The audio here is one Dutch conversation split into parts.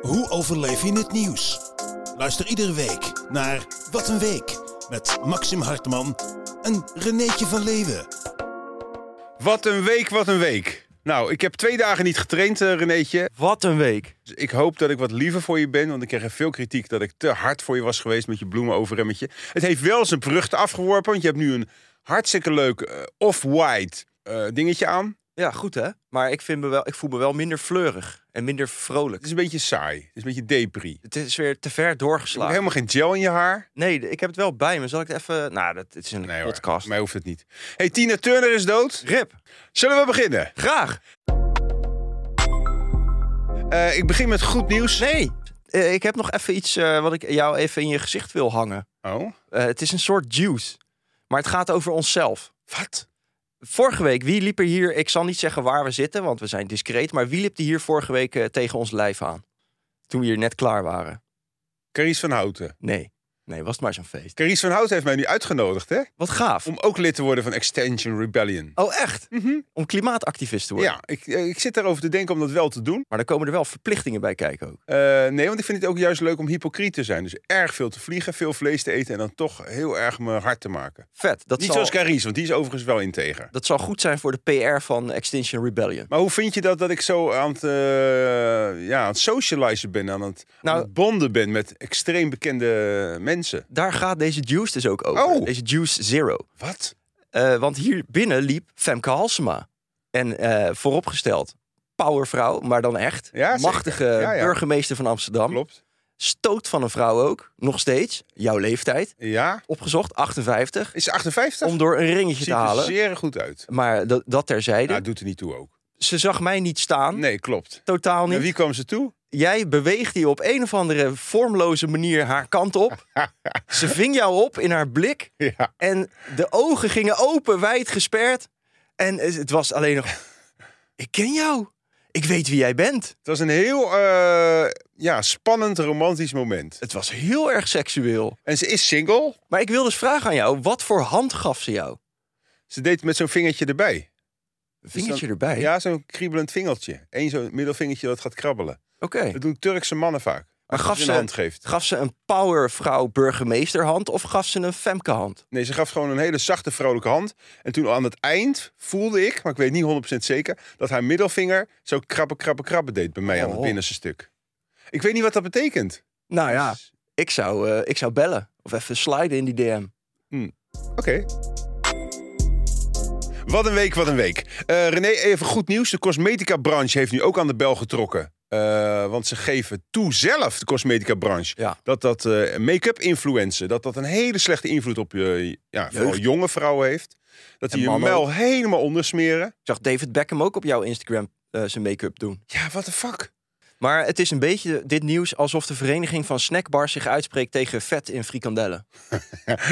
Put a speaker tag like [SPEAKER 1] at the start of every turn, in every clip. [SPEAKER 1] Hoe overleef je het nieuws? Luister iedere week naar Wat een Week met Maxim Hartman en Renéetje van Leeuwen.
[SPEAKER 2] Wat een week, wat een week. Nou, ik heb twee dagen niet getraind, eh, Renéetje.
[SPEAKER 3] Wat een week.
[SPEAKER 2] Dus ik hoop dat ik wat liever voor je ben. Want ik kreeg er veel kritiek dat ik te hard voor je was geweest met je bloemenoverremmetje. Het heeft wel zijn vruchten afgeworpen. Want je hebt nu een hartstikke leuk eh, off-white eh, dingetje aan.
[SPEAKER 3] Ja, goed hè. Maar ik, vind me wel, ik voel me wel minder fleurig en minder vrolijk.
[SPEAKER 2] Het is een beetje saai. Het is een beetje depri.
[SPEAKER 3] Het is weer te ver
[SPEAKER 2] Je hebt
[SPEAKER 3] doorgeslagen.
[SPEAKER 2] helemaal geen gel in je haar.
[SPEAKER 3] Nee, ik heb het wel bij me. Zal ik het even... Nou, dat, het is een
[SPEAKER 2] hoor,
[SPEAKER 3] podcast.
[SPEAKER 2] mij hoeft het niet. hey, Tina Turner is dood.
[SPEAKER 3] Rip,
[SPEAKER 2] Zullen we beginnen?
[SPEAKER 3] graag.
[SPEAKER 2] Eh, ik begin met goed nieuws.
[SPEAKER 3] Nee, eh, ik heb nog even iets eh, wat ik jou even in je gezicht wil hangen.
[SPEAKER 2] Oh,
[SPEAKER 3] Eh, het is een soort juice. Maar het gaat over onszelf.
[SPEAKER 2] wat?
[SPEAKER 3] Vorige week, wie liep er hier... Ik zal niet zeggen waar we zitten, want we zijn discreet. Maar wie liep er hier vorige week eh, tegen ons lijf aan? Toen we hier net klaar waren.
[SPEAKER 2] Carice van Houten.
[SPEAKER 3] Nee. Nee, was het maar zo'n feest.
[SPEAKER 2] Carice van Houten heeft mij nu uitgenodigd, hè?
[SPEAKER 3] Wat gaaf.
[SPEAKER 2] Om ook lid te worden van Extension Rebellion.
[SPEAKER 3] Oh, echt? Om klimaatactivist te worden.
[SPEAKER 2] Mhm. Ja, ik, eh, ik zit daarover te denken om dat wel te doen.
[SPEAKER 3] Maar dan komen er wel verplichtingen bij kijken ook.
[SPEAKER 2] Eh, nee, want ik vind het ook juist leuk om hypocriet te zijn. Dus erg veel te vliegen, veel vlees te eten en dan toch heel erg mijn hart te maken.
[SPEAKER 3] Vet. Dat,
[SPEAKER 2] Niet
[SPEAKER 3] zal,
[SPEAKER 2] zoals Carice, want die is overigens wel integer.
[SPEAKER 3] dat zal goed zijn voor de PR van Extinction Rebellion.
[SPEAKER 2] Maar hoe vind je dat, dat ik zo aan het, eh, ja, aan het socializen ben, aan het,
[SPEAKER 3] Nou-
[SPEAKER 2] aan het bonden ben met extreem bekende mensen?
[SPEAKER 3] Daar gaat deze Juice dus ook over.
[SPEAKER 2] Oh.
[SPEAKER 3] Deze Juice Zero.
[SPEAKER 2] Wat?
[SPEAKER 3] Eh, want hier binnen liep Femke Halsema. En eh, vooropgesteld, powervrouw, maar dan echt.
[SPEAKER 2] Ja, zeker.
[SPEAKER 3] Machtige
[SPEAKER 2] Ja, ja.
[SPEAKER 3] burgemeester van Amsterdam.
[SPEAKER 2] Klopt.
[SPEAKER 3] Stoot van een vrouw ook, nog steeds. Jouw leeftijd.
[SPEAKER 2] Ja?
[SPEAKER 3] Opgezocht, 58.
[SPEAKER 2] Is ze 58?
[SPEAKER 3] Om door een ringetje
[SPEAKER 2] Ziet
[SPEAKER 3] te
[SPEAKER 2] er
[SPEAKER 3] halen.
[SPEAKER 2] zeer goed uit.
[SPEAKER 3] Maar dat, dat terzijde.
[SPEAKER 2] Nou, doet er niet toe ook.
[SPEAKER 3] Ze zag mij niet staan.
[SPEAKER 2] Nee, klopt.
[SPEAKER 3] Totaal niet.
[SPEAKER 2] En wie kwam ze toe?
[SPEAKER 3] jij beweegt die op een of andere vormloze manier haar kant op. Ze ving jou op in haar blik.
[SPEAKER 2] Ja.
[SPEAKER 3] En de ogen gingen open, wijd gesperd. En eh, het was alleen nog... Ik ken jou. Ik weet wie jij bent.
[SPEAKER 2] Het was een heel eh, ja, spannend, romantisch moment.
[SPEAKER 3] Het was heel erg seksueel.
[SPEAKER 2] En ze is single.
[SPEAKER 3] Maar ik wil dus vragen aan jou. Wat voor hand gaf ze jou?
[SPEAKER 2] Ze deed het met zo'n vingertje erbij.
[SPEAKER 3] Vingertje
[SPEAKER 2] dan-
[SPEAKER 3] erbij?
[SPEAKER 2] Ja, zo'n kriebelend vingertje. Eén zo'n middelvingertje dat gaat krabbelen.
[SPEAKER 3] Oké.
[SPEAKER 2] Dat doen Turkse mannen vaak.
[SPEAKER 3] Maar
[SPEAKER 2] Als
[SPEAKER 3] gaf
[SPEAKER 2] je
[SPEAKER 3] ze-
[SPEAKER 2] een hand geeft.
[SPEAKER 3] Gaf ze een powervrouw burgemeesterhand of gaf ze een Femke hand?
[SPEAKER 2] Nee, ze gaf gewoon een hele zachte, vrolijke hand. En toen aan het eind voelde ik, maar ik weet niet 100% zeker, dat haar middelvinger zo krabben, krabben, krabben deed bij mij aan het
[SPEAKER 3] Oh.
[SPEAKER 2] binnenste stuk. Ik weet niet wat dat betekent.
[SPEAKER 3] Nou ja, ik zou, eh, ik zou bellen. Of even sliden in die DM.
[SPEAKER 2] Oké. Wat een week, wat een week. Eh René, even goed nieuws. De cosmetica-branche heeft nu ook aan de bel getrokken. Eh, want ze geven toe zelf, de cosmetica-branche,
[SPEAKER 3] Ja.
[SPEAKER 2] dat dat eh, make-up influencer, dat dat een hele slechte invloed op je, ja, vooral
[SPEAKER 3] Jeugd.
[SPEAKER 2] jonge vrouwen heeft. Dat
[SPEAKER 3] En
[SPEAKER 2] die je
[SPEAKER 3] mannen
[SPEAKER 2] mel helemaal ondersmeren.
[SPEAKER 3] Ik zag David Beckham ook op jouw Instagram eh, zijn make-up doen.
[SPEAKER 2] Ja, what the fuck?
[SPEAKER 3] Maar het is een beetje dit nieuws alsof de vereniging van snackbars zich uitspreekt tegen vet in frikandellen.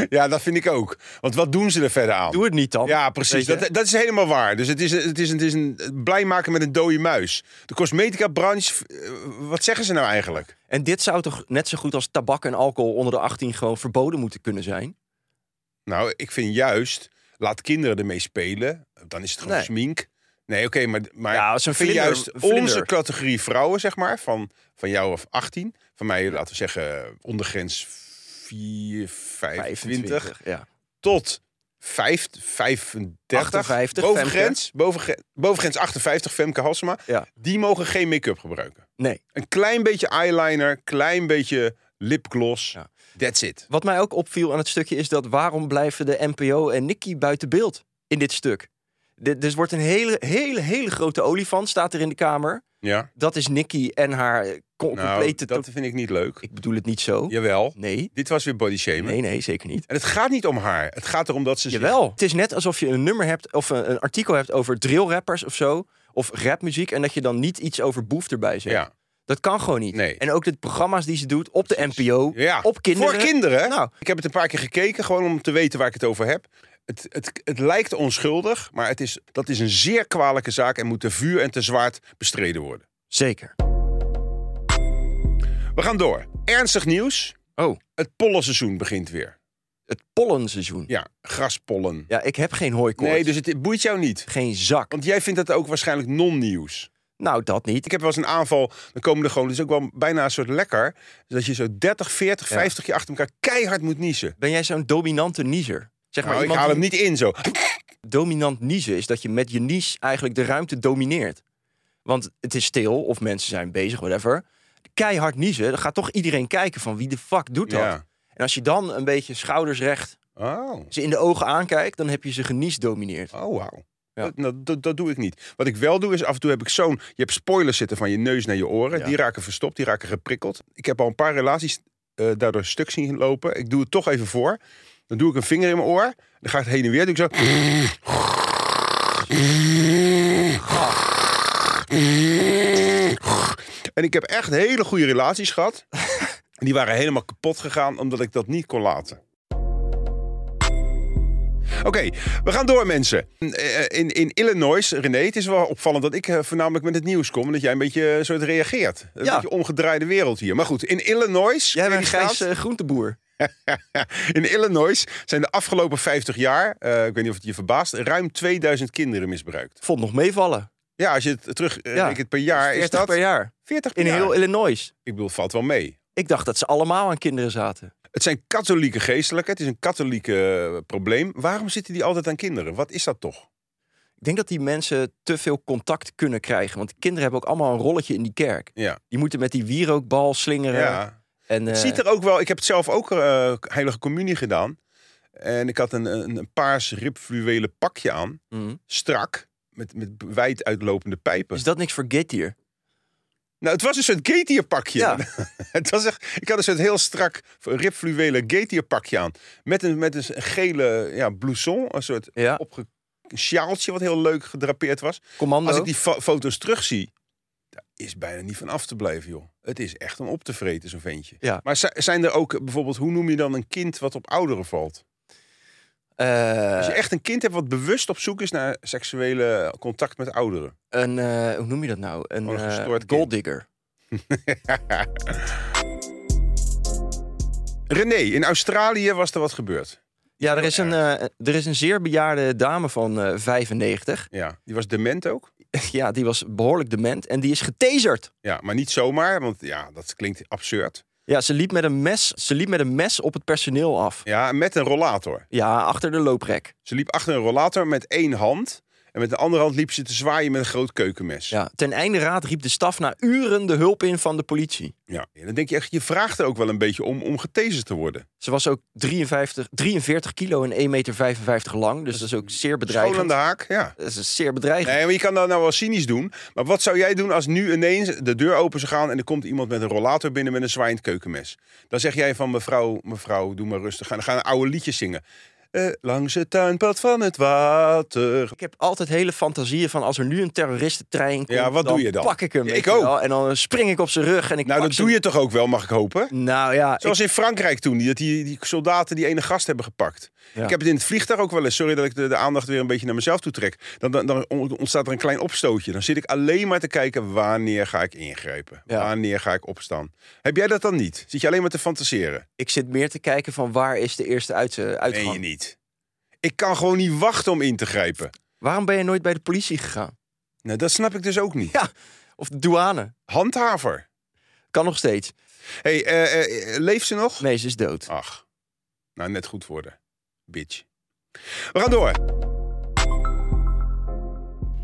[SPEAKER 2] ja, dat vind ik ook. Want wat doen ze er verder aan?
[SPEAKER 3] Doe het niet dan.
[SPEAKER 2] Ja,
[SPEAKER 3] Weet
[SPEAKER 2] precies.
[SPEAKER 3] je?
[SPEAKER 2] Dat, dat is helemaal waar. Dus het is, het is, het is een blij maken met een dode muis. De cosmetica-branche, eh, wat zeggen ze nou eigenlijk?
[SPEAKER 3] En dit zou toch net zo goed als tabak en alcohol onder de 18 gewoon verboden moeten kunnen zijn?
[SPEAKER 2] Nou, ik vind juist, laat kinderen ermee spelen. Dan is het gewoon
[SPEAKER 3] Nee.
[SPEAKER 2] smink. Nee, oké, maar, maar
[SPEAKER 3] Ja, als een
[SPEAKER 2] ik vind
[SPEAKER 3] vlinder-
[SPEAKER 2] juist
[SPEAKER 3] een vlinder.
[SPEAKER 2] onze categorie vrouwen, zeg maar, van, van jou of 18. Van mij, laten we zeggen, ondergrens 4, 25,
[SPEAKER 3] 25. Ja.
[SPEAKER 2] tot 5, 35.
[SPEAKER 3] 58,
[SPEAKER 2] bovengrens, bovengrens, bovengrens 58, Femke Halsema.
[SPEAKER 3] Ja.
[SPEAKER 2] Die mogen geen make-up gebruiken.
[SPEAKER 3] Nee.
[SPEAKER 2] Een klein beetje eyeliner, klein beetje lipgloss.
[SPEAKER 3] Ja.
[SPEAKER 2] That's it.
[SPEAKER 3] Wat mij ook opviel aan het stukje is dat waarom blijven de NPO en Nicky buiten beeld in dit stuk? Dit dus wordt een hele, hele, hele grote olifant staat er in de kamer.
[SPEAKER 2] Ja.
[SPEAKER 3] Dat is Nicky en haar eh, co-
[SPEAKER 2] Nou,
[SPEAKER 3] complete...
[SPEAKER 2] dat vind ik niet leuk.
[SPEAKER 3] Ik bedoel het niet zo.
[SPEAKER 2] Jawel.
[SPEAKER 3] Nee.
[SPEAKER 2] Dit was weer body shaming.
[SPEAKER 3] Nee, nee, zeker niet.
[SPEAKER 2] En het gaat niet om haar. Het gaat erom dat ze zich-
[SPEAKER 3] Jawel. Het is net alsof je een nummer hebt of een, een artikel hebt over drillrappers of zo. Of rapmuziek. En dat je dan niet iets over boef erbij zegt.
[SPEAKER 2] Ja.
[SPEAKER 3] Dat Dat kan gewoon niet.
[SPEAKER 2] Nee.
[SPEAKER 3] En ook de programma's die ze doet op de NPO,
[SPEAKER 2] Ja,
[SPEAKER 3] op kinderen.
[SPEAKER 2] Voor kinderen.
[SPEAKER 3] Nou.
[SPEAKER 2] Ik heb het een paar keer gekeken, gewoon om te weten waar ik het over heb. Het, het, het lijkt onschuldig, maar het is, dat is een zeer kwalijke zaak en moet te vuur en te zwaard bestreden worden.
[SPEAKER 3] Zeker.
[SPEAKER 2] We gaan door. Ernstig nieuws.
[SPEAKER 3] Oh.
[SPEAKER 2] Het pollenseizoen begint weer.
[SPEAKER 3] Het pollenseizoen. Ja,
[SPEAKER 2] Ja, graspollen.
[SPEAKER 3] ik heb geen hooikoorts.
[SPEAKER 2] nee, dus het boeit jou niet.
[SPEAKER 3] Geen zak.
[SPEAKER 2] Want jij vindt dat ook waarschijnlijk non-nieuws.
[SPEAKER 3] Nou, dat niet.
[SPEAKER 2] Ik heb wel eens een aanval, dan komen er gewoon, het is ook wel bijna een soort lekker. Dat je zo 30, 40,
[SPEAKER 3] Ja.
[SPEAKER 2] 50 keer achter elkaar keihard moet niezen.
[SPEAKER 3] Ben jij zo'n dominante niezer? Zeg maar,
[SPEAKER 2] Nou, ik
[SPEAKER 3] iemand
[SPEAKER 2] haal hem
[SPEAKER 3] die-
[SPEAKER 2] niet in zo.
[SPEAKER 3] dominant niezen is dat je met je nies eigenlijk de ruimte domineert. Want het is stil of mensen zijn bezig, whatever. Keihard niezen, dan gaat toch iedereen kijken van wie de fuck doet dat.
[SPEAKER 2] Ja.
[SPEAKER 3] En als je dan een beetje schouders recht
[SPEAKER 2] Oh.
[SPEAKER 3] ze in de ogen aankijkt, dan heb je ze genies domineerd.
[SPEAKER 2] Oh, wauw.
[SPEAKER 3] Ja.
[SPEAKER 2] Dat, nou, dat, dat doe ik niet. Wat ik wel doe is, af en toe heb ik zo'n... Je hebt spoilers zitten van je neus naar je oren.
[SPEAKER 3] Ja.
[SPEAKER 2] Die raken verstopt, die raken geprikkeld. Ik heb al een paar relaties eh, daardoor stuk zien lopen. Ik doe het toch even voor. Dan doe ik een vinger in mijn oor. Dan ga ik het heen en weer. Doe ik zo... En ik heb echt hele goede relaties gehad. Die waren helemaal kapot gegaan omdat ik dat niet kon laten. Oké, we gaan door, mensen. Eh, In, in Illinois, René, het is wel opvallend dat ik eh, voornamelijk met het nieuws kom. En dat jij een beetje eh, soort reageert. Een
[SPEAKER 3] Ja.
[SPEAKER 2] beetje omgedraaide wereld hier. Maar goed, in Illinois.
[SPEAKER 3] Jij
[SPEAKER 2] ken je
[SPEAKER 3] bent een
[SPEAKER 2] die
[SPEAKER 3] grijs
[SPEAKER 2] straat?
[SPEAKER 3] eh, groenteboer.
[SPEAKER 2] In Illinois zijn de afgelopen 50 jaar, eh, ik weet niet of het je verbaast, ruim 2000 kinderen misbruikt.
[SPEAKER 3] Vond nog meevallen.
[SPEAKER 2] Ja, als je het terugrekent
[SPEAKER 3] Ja.
[SPEAKER 2] rekent per jaar, is
[SPEAKER 3] 40
[SPEAKER 2] dat
[SPEAKER 3] per jaar.
[SPEAKER 2] 40 per
[SPEAKER 3] In
[SPEAKER 2] jaar.
[SPEAKER 3] heel Illinois.
[SPEAKER 2] Ik bedoel, valt wel mee.
[SPEAKER 3] Ik dacht dat ze allemaal aan kinderen zaten.
[SPEAKER 2] Het zijn katholieke geestelijken, het is een katholieke eh, probleem. Waarom zitten die altijd aan kinderen? Wat is dat toch?
[SPEAKER 3] Ik denk dat die mensen te veel contact kunnen krijgen. Want kinderen hebben ook allemaal een rolletje in die kerk.
[SPEAKER 2] Ja.
[SPEAKER 3] Die moeten met die wierookbal slingeren.
[SPEAKER 2] ja.
[SPEAKER 3] En,
[SPEAKER 2] Het
[SPEAKER 3] eh,
[SPEAKER 2] ziet er ook wel. Ik heb het zelf ook eh, heilige communie gedaan. En ik had een, een, een paars ribfluwelen pakje aan.
[SPEAKER 3] mm.
[SPEAKER 2] Strak. Met, met wijd uitlopende pijpen.
[SPEAKER 3] Is dat niks voor Gettier?
[SPEAKER 2] Nou, het was een soort gaitierpakje.
[SPEAKER 3] Ja.
[SPEAKER 2] het was echt, ik had een soort heel strak ribfluwelen gaitierpakje aan. Met een, met een gele ja, blouson. Een soort
[SPEAKER 3] Ja.
[SPEAKER 2] opge... een sjaaltje wat heel leuk gedrapeerd was.
[SPEAKER 3] Commando.
[SPEAKER 2] Als ik die fo- foto's terugzie, daar is bijna niet van af te blijven, joh. Het is echt om op te vreten, zo'n ventje.
[SPEAKER 3] Ja.
[SPEAKER 2] Maar zi- zijn er ook eh, bijvoorbeeld, hoe noem je dan een kind wat op ouderen valt?
[SPEAKER 3] Eh,
[SPEAKER 2] Als je echt een kind hebt wat bewust op zoek is naar seksuele contact met ouderen.
[SPEAKER 3] een, eh, hoe noem je dat nou? Een,
[SPEAKER 2] Gewoon Oh, een
[SPEAKER 3] eh,
[SPEAKER 2] gestoord kind.
[SPEAKER 3] golddigger.
[SPEAKER 2] René, in Australië was er wat gebeurd.
[SPEAKER 3] Ja, er is, een, eh, er is een zeer bejaarde dame van eh, 95.
[SPEAKER 2] Ja, die was dement ook.
[SPEAKER 3] ja, die was behoorlijk dement en die is getaserd.
[SPEAKER 2] Ja, maar niet zomaar, want ja, dat klinkt absurd.
[SPEAKER 3] Ja, ze liep met een mes, ze liep met een mes op het personeel af.
[SPEAKER 2] Ja, met een rollator.
[SPEAKER 3] Ja, achter de looprek.
[SPEAKER 2] Ze liep achter een rollator met één hand. En met de andere hand liep ze te zwaaien met een groot keukenmes.
[SPEAKER 3] Ja. Ten einde raad riep de staf na uren de hulp in van de politie.
[SPEAKER 2] Ja, en dan denk je echt, je vraagt er ook wel een beetje om, om getezen te worden.
[SPEAKER 3] Ze was ook 53, 43 kilo en 1,55 meter lang. Dus dat is ook zeer
[SPEAKER 2] Schoon aan
[SPEAKER 3] bedreigend.
[SPEAKER 2] de haak, ja.
[SPEAKER 3] Dat is zeer bedreigend.
[SPEAKER 2] Nee, maar je kan dat nou wel cynisch doen. Maar wat zou jij doen als nu ineens de deur open zou gaan... en er komt iemand met een rollator binnen met een zwaaiend keukenmes? Dan zeg jij van mevrouw, mevrouw, doe maar rustig. aan. Dan gaan we oude liedjes zingen. Eh, langs het tuinpad van het water. Nou,
[SPEAKER 3] Ik heb altijd hele fantasieën van als er nu een terroristentrein komt,
[SPEAKER 2] Ja, wat
[SPEAKER 3] dan
[SPEAKER 2] doe je dan?
[SPEAKER 3] pak ik hem.
[SPEAKER 2] Ja,
[SPEAKER 3] weet
[SPEAKER 2] ik
[SPEAKER 3] je
[SPEAKER 2] ook.
[SPEAKER 3] wel. En dan spring ik op zijn rug en ik
[SPEAKER 2] Nou,
[SPEAKER 3] pak
[SPEAKER 2] dat
[SPEAKER 3] zijn-
[SPEAKER 2] doe je toch ook wel, mag ik hopen?
[SPEAKER 3] Nou ja, ik-
[SPEAKER 2] Zoals in Frankrijk toen, die, dat die, die soldaten die ene gast hebben gepakt.
[SPEAKER 3] Ja.
[SPEAKER 2] Ik heb het in het vliegtuig ook wel eens. Sorry dat ik de, de aandacht weer een beetje naar mezelf toe trek. Dan, dan, dan ontstaat er een klein opstootje. Dan zit ik alleen maar te kijken wanneer ga ik ingrijpen.
[SPEAKER 3] Ja.
[SPEAKER 2] Wanneer ga ik opstaan. Heb jij dat dan niet? Zit je alleen maar te fantaseren?
[SPEAKER 3] ik zit meer te kijken van waar is de eerste uit, eh, uitgang.
[SPEAKER 2] Nee, je niet. Ik kan gewoon niet wachten om in te grijpen.
[SPEAKER 3] Waarom ben je nooit bij de politie gegaan?
[SPEAKER 2] Nou, dat snap ik dus ook niet.
[SPEAKER 3] Ja. Of de douane?
[SPEAKER 2] Handhaver.
[SPEAKER 3] Kan nog steeds.
[SPEAKER 2] hey, eh, eh, eh, leeft ze nog?
[SPEAKER 3] Nee, ze is dood.
[SPEAKER 2] Ach, nou net goed worden. Bitch. We gaan door.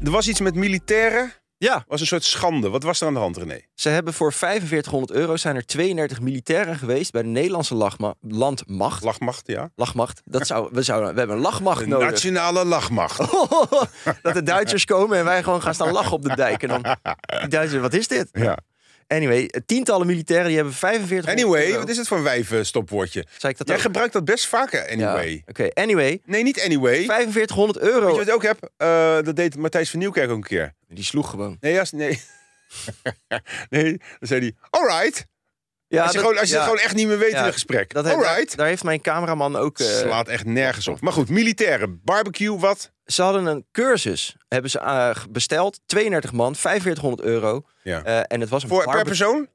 [SPEAKER 2] Er was iets met militairen.
[SPEAKER 3] Ja,
[SPEAKER 2] was een soort schande. Wat was er aan de hand, René?
[SPEAKER 3] ze hebben voor 4500 euro zijn er 32 militairen geweest bij de Nederlandse lachma- landmacht.
[SPEAKER 2] Lachmacht, ja.
[SPEAKER 3] Lachmacht. Dat zou, we, zouden, we hebben een
[SPEAKER 2] De
[SPEAKER 3] lachmacht nodig.
[SPEAKER 2] nationale lachmacht.
[SPEAKER 3] Oh. dat de Duitsers komen en wij gewoon gaan staan lachen op de dijk. En dan, die Duitsers, wat is dit?
[SPEAKER 2] Ja.
[SPEAKER 3] Anyway, eh, tientallen militairen die hebben 45
[SPEAKER 2] Anyway, wat is het voor een wijvenstopwoordje?
[SPEAKER 3] Zei ik dat
[SPEAKER 2] Jij
[SPEAKER 3] ook?
[SPEAKER 2] gebruikt dat best vaker,
[SPEAKER 3] Ja,
[SPEAKER 2] anyway.
[SPEAKER 3] Oké, anyway.
[SPEAKER 2] Nee, niet anyway.
[SPEAKER 3] 4500
[SPEAKER 2] Weet je
[SPEAKER 3] euro.
[SPEAKER 2] wat ik ook heb? Eh, dat deed Matthijs van Nieuwkerk ook een keer.
[SPEAKER 3] Die sloeg gewoon.
[SPEAKER 2] Nee, ja, nee. Nee, dan zei hij, alright.
[SPEAKER 3] Ja,
[SPEAKER 2] als je,
[SPEAKER 3] dat-
[SPEAKER 2] gewoon, als je
[SPEAKER 3] ja,
[SPEAKER 2] het gewoon echt niet meer weet
[SPEAKER 3] ja,
[SPEAKER 2] in een gesprek.
[SPEAKER 3] dat heeft-
[SPEAKER 2] alright.
[SPEAKER 3] daar, daar heeft mijn cameraman ook... eh,
[SPEAKER 2] Slaat echt nergens op. Maar goed, militairen, barbecue, wat?
[SPEAKER 3] ze hadden een cursus, hebben ze eh, besteld. 32 man, 4500 euro.
[SPEAKER 2] Ja.
[SPEAKER 3] Eh, en het was een
[SPEAKER 2] Voor, per
[SPEAKER 3] barbe-
[SPEAKER 2] persoon?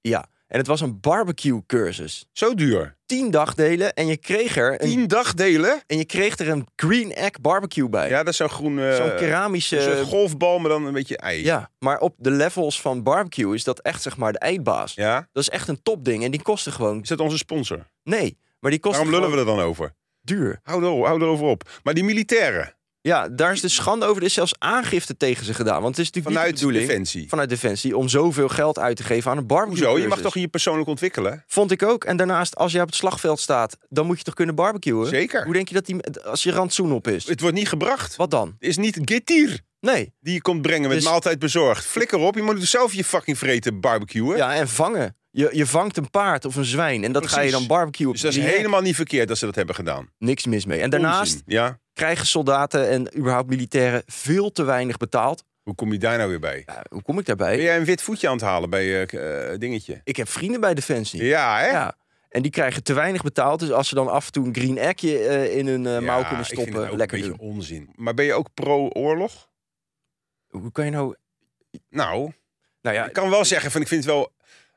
[SPEAKER 3] Ja, en het was een barbecue cursus.
[SPEAKER 2] Zo duur.
[SPEAKER 3] 10 dagdelen en je kreeg er een,
[SPEAKER 2] Tien dagdelen?
[SPEAKER 3] en je kreeg er een green egg barbecue bij.
[SPEAKER 2] Ja, dat is zo'n groen... eh,
[SPEAKER 3] Zo'n keramische...
[SPEAKER 2] zo'n golfbal, maar dan een beetje ei.
[SPEAKER 3] ja, maar op de levels van barbecue is dat echt zeg maar de eindbaas.
[SPEAKER 2] Ja?
[SPEAKER 3] Dat is echt een topding en die kostte gewoon...
[SPEAKER 2] Is dat onze sponsor?
[SPEAKER 3] Nee, maar die kostte
[SPEAKER 2] Waarom lullen we
[SPEAKER 3] gewoon
[SPEAKER 2] er dan over?
[SPEAKER 3] duur.
[SPEAKER 2] Hou, er, hou erover op. Maar die militairen,
[SPEAKER 3] Ja, daar is de schande over. Er is zelfs aangifte tegen ze gedaan. Want het is natuurlijk
[SPEAKER 2] vanuit
[SPEAKER 3] niet de bedoeling
[SPEAKER 2] Defensie.
[SPEAKER 3] vanuit Defensie om zoveel geld uit te geven aan een barbecue
[SPEAKER 2] Hoezo? Je mag
[SPEAKER 3] cursus.
[SPEAKER 2] toch je persoonlijk ontwikkelen?
[SPEAKER 3] Vond ik ook. En daarnaast, als jij op het slagveld staat, dan moet je toch kunnen barbecuen? Hoe
[SPEAKER 2] Zeker.
[SPEAKER 3] denk je dat die, als je rantsoen op is?
[SPEAKER 2] Het wordt niet gebracht.
[SPEAKER 3] Wat dan?
[SPEAKER 2] is niet Getir
[SPEAKER 3] Nee.
[SPEAKER 2] die je komt brengen met
[SPEAKER 3] Dus-
[SPEAKER 2] maaltijd bezorgd. Flikker op, je moet zelf je fucking vreten barbecuen.
[SPEAKER 3] Ja, en vangen. Je, je vangt een paard of een zwijn en dat ga je
[SPEAKER 2] Precies.
[SPEAKER 3] dan barbecuen. op
[SPEAKER 2] Dus dat is
[SPEAKER 3] die hek.
[SPEAKER 2] helemaal niet verkeerd dat ze dat hebben gedaan.
[SPEAKER 3] Niks mis mee. En daarnaast
[SPEAKER 2] Onzin. Ja,
[SPEAKER 3] krijgen soldaten en überhaupt militairen veel te weinig betaald.
[SPEAKER 2] hoe kom je daar nou weer bij?
[SPEAKER 3] Ja, hoe kom ik daarbij?
[SPEAKER 2] Ben jij een wit voetje aan het halen bij eh, k- eh dingetje?
[SPEAKER 3] Ik heb vrienden bij Defensie.
[SPEAKER 2] Ja, hè?
[SPEAKER 3] Ja. En die krijgen te weinig betaald. Dus als ze dan af en toe een green eggje eh, in hun eh,
[SPEAKER 2] Ja,
[SPEAKER 3] mouw kunnen
[SPEAKER 2] ik vind het ook
[SPEAKER 3] stoppen, lekker
[SPEAKER 2] een
[SPEAKER 3] doen.
[SPEAKER 2] beetje onzin. Maar ben je ook pro-oorlog?
[SPEAKER 3] Hoe kan je nou...
[SPEAKER 2] Nou,
[SPEAKER 3] Nou ja,
[SPEAKER 2] ik kan wel zeggen van ik vind het wel,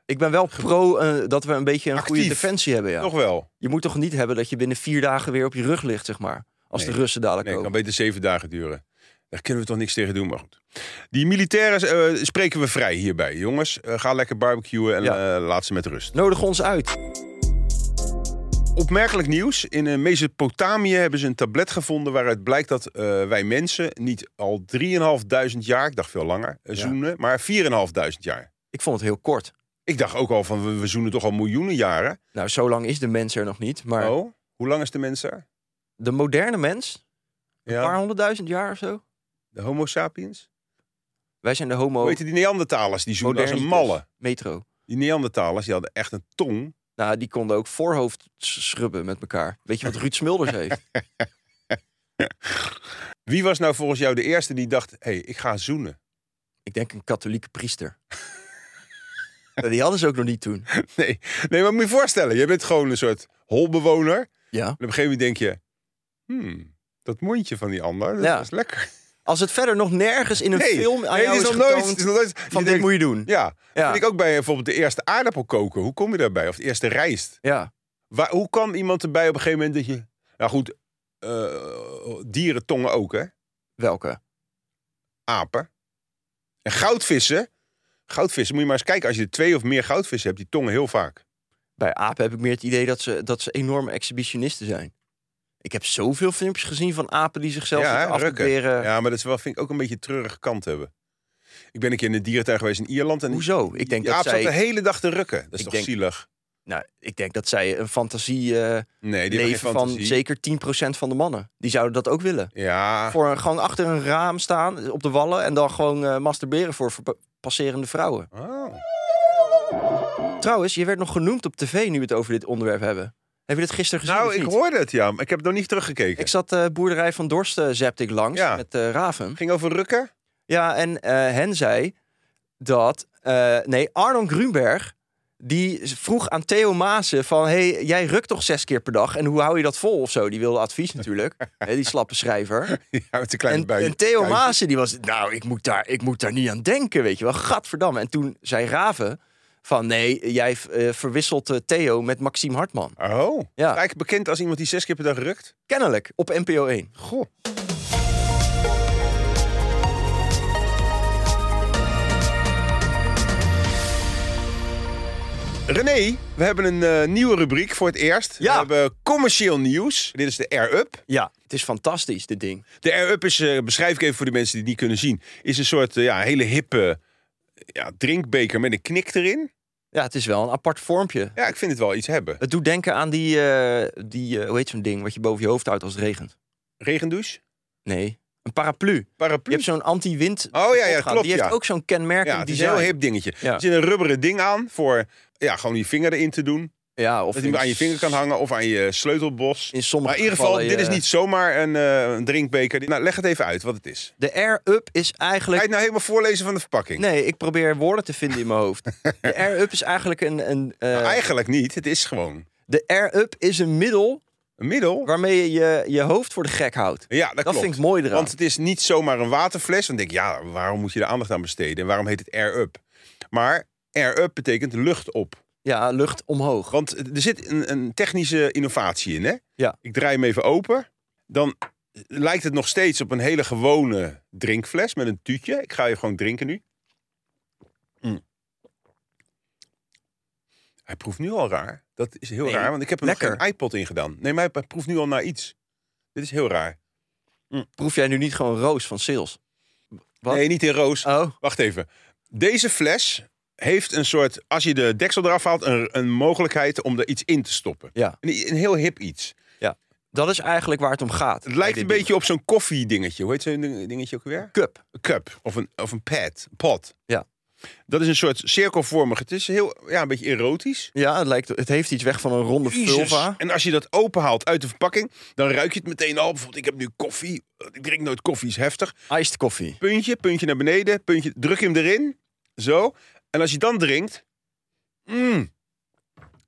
[SPEAKER 3] ik ben wel pro eh, dat we een beetje een goede
[SPEAKER 2] Actief.
[SPEAKER 3] defensie hebben. Ja.
[SPEAKER 2] nog wel.
[SPEAKER 3] Je moet toch niet hebben dat je binnen vier dagen weer op je rug ligt, zeg maar. Als
[SPEAKER 2] Nee.
[SPEAKER 3] de Russen dadelijk
[SPEAKER 2] Nee, het kan
[SPEAKER 3] komen.
[SPEAKER 2] beter zeven dagen duren. Daar kunnen we toch niks tegen doen, maar goed. Die militairen eh, spreken we vrij hierbij, jongens. Eh, ga lekker barbecuen en
[SPEAKER 3] Ja.
[SPEAKER 2] eh, laat ze met rust.
[SPEAKER 3] Nodig ons uit.
[SPEAKER 2] Opmerkelijk nieuws. In eh, Mesopotamië hebben ze een tablet gevonden waaruit blijkt dat eh, wij mensen niet al 3.500 jaar, ik dacht veel langer, eh,
[SPEAKER 3] Ja.
[SPEAKER 2] zoenen, maar 4.500 jaar.
[SPEAKER 3] Ik vond het heel kort.
[SPEAKER 2] Ik dacht ook al van we, we zoenen toch al miljoenen jaren.
[SPEAKER 3] Nou, zo lang is de mens er nog niet. Maar
[SPEAKER 2] Oh, hoe lang is de mens daar?
[SPEAKER 3] de moderne mens, een paar
[SPEAKER 2] Ja,
[SPEAKER 3] honderdduizend jaar of zo.
[SPEAKER 2] de Homo sapiens.
[SPEAKER 3] Wij zijn de homo
[SPEAKER 2] Hoe heet die Neandertalers? Die zoenen als een
[SPEAKER 3] modernitas.
[SPEAKER 2] malle.
[SPEAKER 3] metro.
[SPEAKER 2] Die Neandertalers die hadden echt een tong.
[SPEAKER 3] Nou, die konden ook voorhoofd s- schrubben met elkaar. Weet je wat Ruud Smulders heeft?
[SPEAKER 2] Wie was nou volgens jou de eerste die dacht: hé, hey, ik ga zoenen?
[SPEAKER 3] Ik denk een katholieke priester. Nou, die hadden ze ook nog niet toen.
[SPEAKER 2] Nee, nee, maar moet je je voorstellen, je bent gewoon een soort holbewoner.
[SPEAKER 3] Ja.
[SPEAKER 2] En op een gegeven moment denk je, hmm, dat mondje van die ander, dat
[SPEAKER 3] Ja.
[SPEAKER 2] is lekker.
[SPEAKER 3] Als het verder nog nergens in een film aan
[SPEAKER 2] nee,
[SPEAKER 3] jou
[SPEAKER 2] het
[SPEAKER 3] is,
[SPEAKER 2] is nog nooit,
[SPEAKER 3] getoond
[SPEAKER 2] het is nog nooit.
[SPEAKER 3] van
[SPEAKER 2] je
[SPEAKER 3] dit
[SPEAKER 2] denkt,
[SPEAKER 3] moet je doen.
[SPEAKER 2] Ja,
[SPEAKER 3] Ja.
[SPEAKER 2] vind ik ook bij bijvoorbeeld de eerste aardappel koken. Hoe kom je daarbij? Of de eerste rijst?
[SPEAKER 3] Ja.
[SPEAKER 2] Waar, hoe kwam iemand erbij op een gegeven moment dat je... Nou goed, eh, dierentongen ook, hè?
[SPEAKER 3] Welke?
[SPEAKER 2] Apen. En goudvissen. Goudvissen, moet je maar eens kijken. Als je twee of meer goudvissen hebt, die tongen heel vaak.
[SPEAKER 3] bij apen heb ik meer het idee dat ze, dat ze enorme exhibitionisten zijn. Ik heb zoveel filmpjes gezien van apen die zichzelf
[SPEAKER 2] Ja,
[SPEAKER 3] ja,
[SPEAKER 2] hè, rukken.
[SPEAKER 3] afberen.
[SPEAKER 2] Ja, maar dat is wel, vind ik ook een beetje een treurige kant hebben. Ik ben een keer in de dierentuin geweest in Ierland. En die-
[SPEAKER 3] Hoezo? Ik denk,
[SPEAKER 2] die
[SPEAKER 3] dat
[SPEAKER 2] aap zat de
[SPEAKER 3] zij,
[SPEAKER 2] hele dag te rukken. Dat is
[SPEAKER 3] Ik
[SPEAKER 2] toch
[SPEAKER 3] denk-
[SPEAKER 2] zielig?
[SPEAKER 3] nou, ik denk dat zij een fantasie eh,
[SPEAKER 2] Nee, die hebben
[SPEAKER 3] leven
[SPEAKER 2] geen
[SPEAKER 3] van
[SPEAKER 2] fantasie. Ah.
[SPEAKER 3] zeker 10% van de mannen. Die zouden dat ook willen.
[SPEAKER 2] Ja,
[SPEAKER 3] Voor een- gewoon achter een raam staan op de wallen en dan gewoon eh, masturberen voor verpa- passerende vrouwen.
[SPEAKER 2] Oh.
[SPEAKER 3] Trouwens, je werd nog genoemd op tv nu we het over dit onderwerp hebben. Heb je dat gisteren gezien?
[SPEAKER 2] Nou,
[SPEAKER 3] of
[SPEAKER 2] ik
[SPEAKER 3] niet?
[SPEAKER 2] hoorde het, ja. Maar ik heb het nog niet teruggekeken.
[SPEAKER 3] Ik zat eh, boerderij van Dorst eh, zepte ik langs
[SPEAKER 2] Ja.
[SPEAKER 3] met eh Raven.
[SPEAKER 2] Het ging over rukken.
[SPEAKER 3] Ja, en eh, hen zei dat... eh, nee, Arnon Grunberg, die vroeg aan Theo Maassen van... hey, jij rukt toch zes keer per dag en hoe hou je dat vol of zo? Die wilde advies natuurlijk, hè, die slappe schrijver.
[SPEAKER 2] ja, met een kleine
[SPEAKER 3] En,
[SPEAKER 2] buik.
[SPEAKER 3] en Theo Maassen die was... Nou, ik moet, daar, ik moet daar niet aan denken, weet je wel. Gadverdamme. En toen zei Raven van... Nee, jij eh, verwisselt eh, Theo met Maxime Hartman.
[SPEAKER 2] Oh,
[SPEAKER 3] Ja.
[SPEAKER 2] eigenlijk bekend als iemand die zes keer per dag rukt.
[SPEAKER 3] Kennelijk, op NPO 1.
[SPEAKER 2] Goh. René, we hebben een eh, nieuwe rubriek voor het eerst.
[SPEAKER 3] Ja.
[SPEAKER 2] We hebben commercieel nieuws. Dit is de Air Up.
[SPEAKER 3] Ja, het is fantastisch, dit ding.
[SPEAKER 2] De Air-Up is, eh, beschrijf ik even voor de mensen die het niet kunnen zien, is een soort eh, ja, hele hippe ja, drinkbeker met een knik erin.
[SPEAKER 3] Ja, het is wel een apart vormpje.
[SPEAKER 2] Ja, ik vind het wel iets hebben.
[SPEAKER 3] Het doet denken aan die, eh, die eh, hoe heet zo'n ding, wat je boven je hoofd houdt als het regent.
[SPEAKER 2] Regendouche,
[SPEAKER 3] Nee, een paraplu.
[SPEAKER 2] paraplu.
[SPEAKER 3] Je hebt zo'n anti-wind.
[SPEAKER 2] Oh ja, ja,
[SPEAKER 3] opgaan.
[SPEAKER 2] klopt,
[SPEAKER 3] Die heeft
[SPEAKER 2] ja.
[SPEAKER 3] ook zo'n kenmerkend
[SPEAKER 2] ja, het is een
[SPEAKER 3] design.
[SPEAKER 2] heel hip dingetje.
[SPEAKER 3] Ja.
[SPEAKER 2] Er zit een rubberen ding aan voor ja, gewoon je vinger erin te doen.
[SPEAKER 3] Ja, of
[SPEAKER 2] Dat hij hem
[SPEAKER 3] in-
[SPEAKER 2] aan je vinger kan hangen of aan je sleutelbos.
[SPEAKER 3] In sommige
[SPEAKER 2] maar in ieder geval,
[SPEAKER 3] gevallen,
[SPEAKER 2] dit is
[SPEAKER 3] eh,
[SPEAKER 2] niet zomaar een eh, een drinkbeker. Nou, leg het even uit wat het is.
[SPEAKER 3] De air-up is
[SPEAKER 2] Ga je
[SPEAKER 3] eigenlijk...
[SPEAKER 2] het nou helemaal voorlezen van de verpakking?
[SPEAKER 3] Nee, ik probeer woorden te vinden in mijn hoofd. De air-up is eigenlijk een... een eh,
[SPEAKER 2] Nou, eigenlijk niet. Het is gewoon
[SPEAKER 3] de air-up is een middel
[SPEAKER 2] een middel.
[SPEAKER 3] waarmee je je, je hoofd voor de gek houdt.
[SPEAKER 2] Ja, dat,
[SPEAKER 3] Dat
[SPEAKER 2] klopt.
[SPEAKER 3] vind ik mooi eraan.
[SPEAKER 2] Want het is niet zomaar een waterfles. Dan denk ik, ja, waarom moet je er aandacht aan besteden? En waarom heet het air up? Maar air up betekent lucht op.
[SPEAKER 3] Ja, lucht omhoog.
[SPEAKER 2] Want er zit een, een technische innovatie in, hè?
[SPEAKER 3] Ja.
[SPEAKER 2] Ik draai hem even open. Dan lijkt het nog steeds op een hele gewone drinkfles met een tuutje. Ik ga je gewoon drinken nu. Mm. Hij proeft nu al raar. Dat is heel
[SPEAKER 3] Nee,
[SPEAKER 2] raar, want ik heb er
[SPEAKER 3] lekker.
[SPEAKER 2] nog geen iPod in gedaan. Nee, maar hij proeft nu al naar iets. Dit is heel raar.
[SPEAKER 3] Proef jij nu niet gewoon roos van sales? Wat?
[SPEAKER 2] Nee, niet in roos.
[SPEAKER 3] Oh,
[SPEAKER 2] Wacht even. Deze fles heeft een soort, als je de deksel eraf haalt, een, een mogelijkheid om er iets in te stoppen.
[SPEAKER 3] Ja.
[SPEAKER 2] Een, een heel hip iets.
[SPEAKER 3] dat is eigenlijk waar het om gaat.
[SPEAKER 2] Het lijkt
[SPEAKER 3] bij
[SPEAKER 2] een
[SPEAKER 3] dit
[SPEAKER 2] beetje op zo'n koffiedingetje. Hoe heet zo'n ding- dingetje ook weer?
[SPEAKER 3] ding. cup.
[SPEAKER 2] Een cup of een, of een pad, pot.
[SPEAKER 3] Ja.
[SPEAKER 2] Dat is een soort cirkelvormig. Het is heel, ja, een beetje erotisch.
[SPEAKER 3] Ja, het, lijkt, het heeft iets weg van een ronde vulva.
[SPEAKER 2] En als je dat openhaalt uit de verpakking, dan ruik je het meteen al. Bijvoorbeeld, ik heb nu koffie. Ik drink nooit koffie, is heftig.
[SPEAKER 3] Iced koffie.
[SPEAKER 2] puntje, puntje naar beneden, puntje, druk hem erin. Zo. En als je dan drinkt, mm,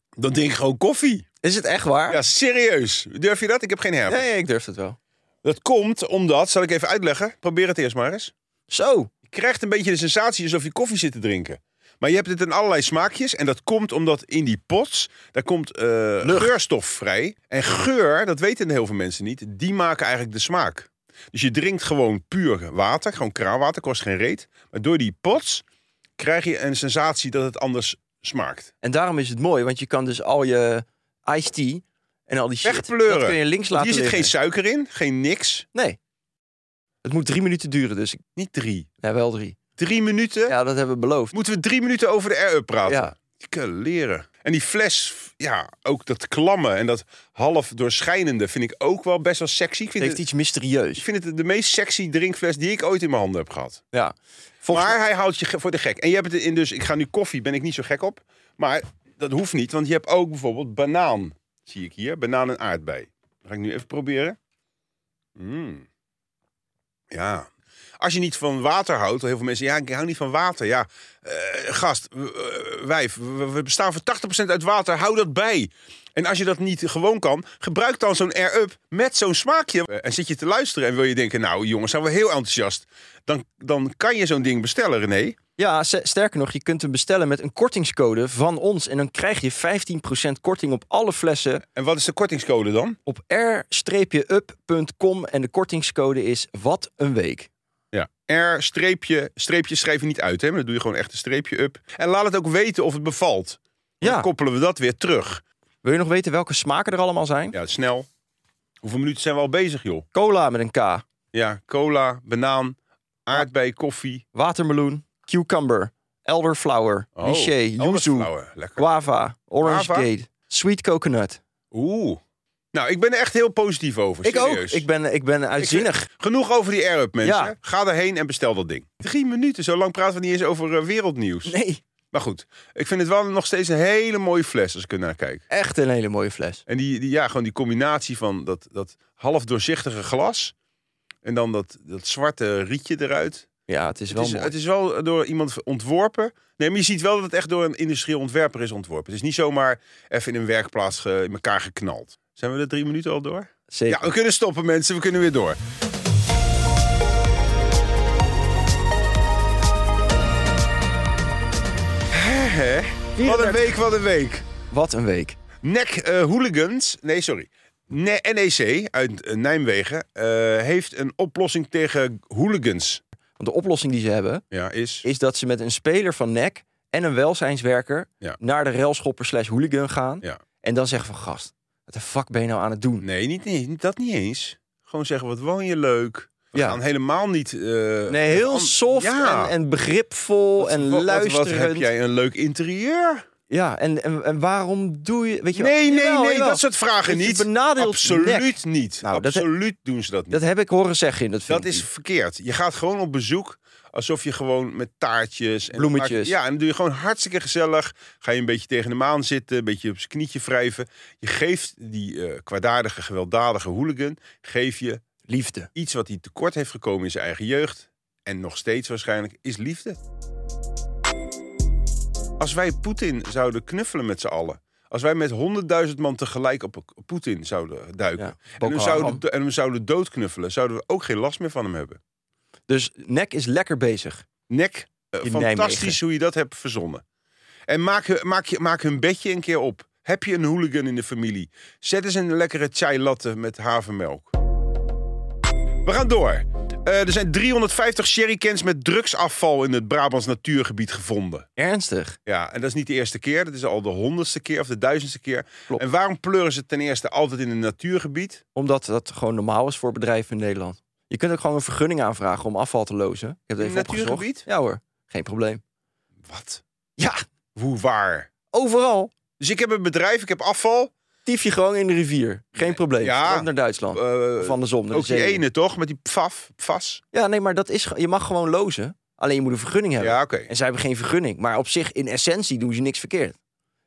[SPEAKER 2] dan drink ik gewoon koffie.
[SPEAKER 3] Is het echt waar?
[SPEAKER 2] Ja, serieus. Durf je dat? Ik heb geen herpes.
[SPEAKER 3] Nee, ik durf het wel.
[SPEAKER 2] Dat komt omdat, zal ik even uitleggen, probeer het eerst maar eens.
[SPEAKER 3] Zo,
[SPEAKER 2] Je krijgt een beetje de sensatie alsof je koffie zit te drinken. Maar je hebt het in allerlei smaakjes en dat komt omdat in die pots, daar komt eh, geurstof vrij. En geur, dat weten heel veel mensen niet, die maken eigenlijk de smaak. Dus je drinkt gewoon puur water, gewoon kraanwater, kost geen reet. Maar door die pots krijg je een sensatie dat het anders smaakt.
[SPEAKER 3] en daarom is het mooi, want je kan dus al je iced tea en al die shit,
[SPEAKER 2] Wegpleuren.
[SPEAKER 3] dat kun je links laten
[SPEAKER 2] Hier zit
[SPEAKER 3] liggen.
[SPEAKER 2] geen suiker in, geen niks.
[SPEAKER 3] Nee. Het moet drie minuten duren, dus ik...
[SPEAKER 2] Niet drie.
[SPEAKER 3] Ja, wel drie.
[SPEAKER 2] Drie minuten.
[SPEAKER 3] Ja, dat hebben we beloofd.
[SPEAKER 2] Moeten we drie minuten over de air-up praten?
[SPEAKER 3] Ja,
[SPEAKER 2] Dikke leren. En die fles, ja, ook dat klamme en dat half doorschijnende vind ik ook wel best wel sexy. Ik
[SPEAKER 3] het
[SPEAKER 2] vind
[SPEAKER 3] heeft
[SPEAKER 2] het,
[SPEAKER 3] iets
[SPEAKER 2] ik
[SPEAKER 3] mysterieus.
[SPEAKER 2] vind het de meest sexy drinkfles die ik ooit in mijn handen heb gehad.
[SPEAKER 3] Ja. Volgens
[SPEAKER 2] maar hij houdt je ge- voor de gek. En je hebt het in dus, ik ga nu koffie, ben ik niet zo gek op. Maar dat hoeft niet, want je hebt ook bijvoorbeeld banaan. Zie ik hier, banaan en aardbei. Dat ga ik nu even proberen. Mm. Ja. Als je niet van water houdt, heel veel mensen, ja, ik hou niet van water. Ja, eh, gast, w- eh, wijf, we we bestaan voor 80% uit water, hou dat bij. En als je dat niet gewoon kan, gebruik dan zo'n air-up met zo'n smaakje. Eh, En zit je te luisteren en wil je denken, nou jongens, zijn we heel enthousiast. Dan, dan kan je zo'n ding bestellen, René.
[SPEAKER 3] Ja, s- sterker nog, je kunt hem bestellen met een kortingscode van ons. En dan krijg je 15% korting op alle flessen
[SPEAKER 2] En wat is de kortingscode dan?
[SPEAKER 3] op r-up.com. En de kortingscode is wat een week.
[SPEAKER 2] Ja. R streepje, streepje schrijf je niet uit, hè? maar dan doe je gewoon echt een streepje up. En laat het ook weten of het bevalt. Dan
[SPEAKER 3] Ja,
[SPEAKER 2] koppelen we dat weer terug.
[SPEAKER 3] wil je nog weten welke smaken er allemaal zijn?
[SPEAKER 2] Ja, snel. Hoeveel minuten zijn we al bezig, joh?
[SPEAKER 3] Cola met een K,
[SPEAKER 2] Ja, cola, banaan, aardbei, koffie.
[SPEAKER 3] watermeloen, cucumber, elderflower,
[SPEAKER 2] Oh,
[SPEAKER 3] lychee, yuzu,
[SPEAKER 2] elderflower, Lekker.
[SPEAKER 3] guava, orange
[SPEAKER 2] Guava?
[SPEAKER 3] gate, sweet coconut.
[SPEAKER 2] Oeh. Nou, ik ben er echt heel positief over.
[SPEAKER 3] Ik ook.
[SPEAKER 2] serieus.
[SPEAKER 3] Ik ben, ik ben uitzinnig.
[SPEAKER 2] Genoeg over die air-up, mensen.
[SPEAKER 3] Ja.
[SPEAKER 2] Ga erheen en bestel dat ding. Drie minuten, zo lang praten we niet eens over eh, wereldnieuws.
[SPEAKER 3] Nee,
[SPEAKER 2] Maar goed, ik vind het wel nog steeds een hele mooie fles als ik er naar kijk.
[SPEAKER 3] echt een hele mooie fles.
[SPEAKER 2] En die, die, ja, gewoon die combinatie van dat, dat half doorzichtige glas en dan dat, dat zwarte rietje eruit.
[SPEAKER 3] Ja, het is wel
[SPEAKER 2] Het is,
[SPEAKER 3] mooi.
[SPEAKER 2] het is wel door iemand ontworpen. Nee, maar je ziet wel dat het echt door een industrieel ontwerper is ontworpen. Het is niet zomaar even in een werkplaats ge- in elkaar geknald. Zijn we de drie minuten al door?
[SPEAKER 3] Zeker.
[SPEAKER 2] Ja, we kunnen stoppen mensen, we kunnen weer door. Hè, hè? Wat een week, wat een week.
[SPEAKER 3] Wat een week.
[SPEAKER 2] NEC eh, Hooligans, nee sorry, Ne- NEC uit eh, Nijmegen eh, heeft een oplossing tegen hooligans.
[SPEAKER 3] Want de oplossing die ze hebben,
[SPEAKER 2] Ja, is...
[SPEAKER 3] is dat ze met een speler van NEC en een welzijnswerker
[SPEAKER 2] Ja.
[SPEAKER 3] naar de railschopper slash hooligan gaan.
[SPEAKER 2] Ja.
[SPEAKER 3] En dan zeggen van gast, wat de fuck ben je nou aan het doen?
[SPEAKER 2] Nee, niet, nee, dat niet eens. Gewoon zeggen, wat woon je leuk. We
[SPEAKER 3] Ja.
[SPEAKER 2] gaan helemaal niet... eh,
[SPEAKER 3] Nee, heel
[SPEAKER 2] an-
[SPEAKER 3] soft
[SPEAKER 2] Ja.
[SPEAKER 3] en, en begripvol
[SPEAKER 2] Wat-
[SPEAKER 3] en
[SPEAKER 2] wat- wat-
[SPEAKER 3] luisterend.
[SPEAKER 2] Wat heb jij een leuk interieur?
[SPEAKER 3] Ja, en, en, en waarom doe je... Weet je
[SPEAKER 2] Nee, nee,
[SPEAKER 3] Jawel,
[SPEAKER 2] nee,
[SPEAKER 3] jawel.
[SPEAKER 2] dat soort vragen
[SPEAKER 3] Dat je
[SPEAKER 2] niet.
[SPEAKER 3] benadeelt
[SPEAKER 2] Absoluut
[SPEAKER 3] nek.
[SPEAKER 2] niet.
[SPEAKER 3] Nou, dat-
[SPEAKER 2] Absoluut doen ze dat niet.
[SPEAKER 3] Dat heb ik horen zeggen in dat
[SPEAKER 2] Dat
[SPEAKER 3] filmpje.
[SPEAKER 2] is verkeerd. Je gaat gewoon op bezoek Alsof je gewoon met taartjes en
[SPEAKER 3] Bloemetjes.
[SPEAKER 2] maak- ja, en dan doe je gewoon hartstikke gezellig. Ga je een beetje tegen de maan zitten, een beetje op zijn knietje wrijven. Je geeft die eh, kwaadaardige, gewelddadige hooligan, geef je
[SPEAKER 3] Liefde.
[SPEAKER 2] iets wat hij tekort heeft gekomen in zijn eigen jeugd. En nog steeds waarschijnlijk is liefde. Als wij Poetin zouden knuffelen met z'n allen. Als wij met honderdduizend man tegelijk op op Poetin zouden duiken.
[SPEAKER 3] Ja,
[SPEAKER 2] en, we
[SPEAKER 3] Boko
[SPEAKER 2] zouden,
[SPEAKER 3] Haram.
[SPEAKER 2] en hem zouden doodknuffelen. Zouden we ook geen last meer van hem hebben.
[SPEAKER 3] Dus Nek is lekker bezig.
[SPEAKER 2] Nek, eh,
[SPEAKER 3] In
[SPEAKER 2] fantastisch
[SPEAKER 3] Nijmegen.
[SPEAKER 2] hoe je dat hebt verzonnen. En maak, hun- maak, je- maak hun bedje een keer op. Heb je een hooligan in de familie? Zet eens een lekkere chai latte met havermelk. We gaan door. Eh, er zijn 350 sherrycans met drugsafval in het Brabants natuurgebied gevonden.
[SPEAKER 3] Ernstig.
[SPEAKER 2] Ja, en dat is niet de eerste keer. Dat is al de honderdste keer of de duizendste keer.
[SPEAKER 3] Klopt.
[SPEAKER 2] En waarom pleuren ze ten eerste altijd in een natuurgebied?
[SPEAKER 3] Omdat dat gewoon normaal is voor bedrijven in Nederland. Je kunt ook gewoon een vergunning aanvragen om afval te lozen. Ik heb het
[SPEAKER 2] In
[SPEAKER 3] even
[SPEAKER 2] het
[SPEAKER 3] opgezocht.
[SPEAKER 2] natuurgebied?
[SPEAKER 3] Ja hoor, geen probleem.
[SPEAKER 2] Wat?
[SPEAKER 3] Ja,
[SPEAKER 2] Hoe waar?
[SPEAKER 3] overal.
[SPEAKER 2] Dus ik heb een bedrijf, ik heb afval.
[SPEAKER 3] Tief je gewoon in de rivier. Geen probleem.
[SPEAKER 2] Ja.
[SPEAKER 3] Stroomt naar Duitsland.
[SPEAKER 2] Eh,
[SPEAKER 3] of andersom. Naar
[SPEAKER 2] ook
[SPEAKER 3] de
[SPEAKER 2] die
[SPEAKER 3] zee.
[SPEAKER 2] ene toch? Met die pfaf, pfas.
[SPEAKER 3] Ja, nee, maar dat is, ge- je mag gewoon lozen. Alleen je moet een vergunning hebben.
[SPEAKER 2] Ja, oké.
[SPEAKER 3] En zij hebben geen vergunning. Maar op zich, in essentie, doen ze niks verkeerd.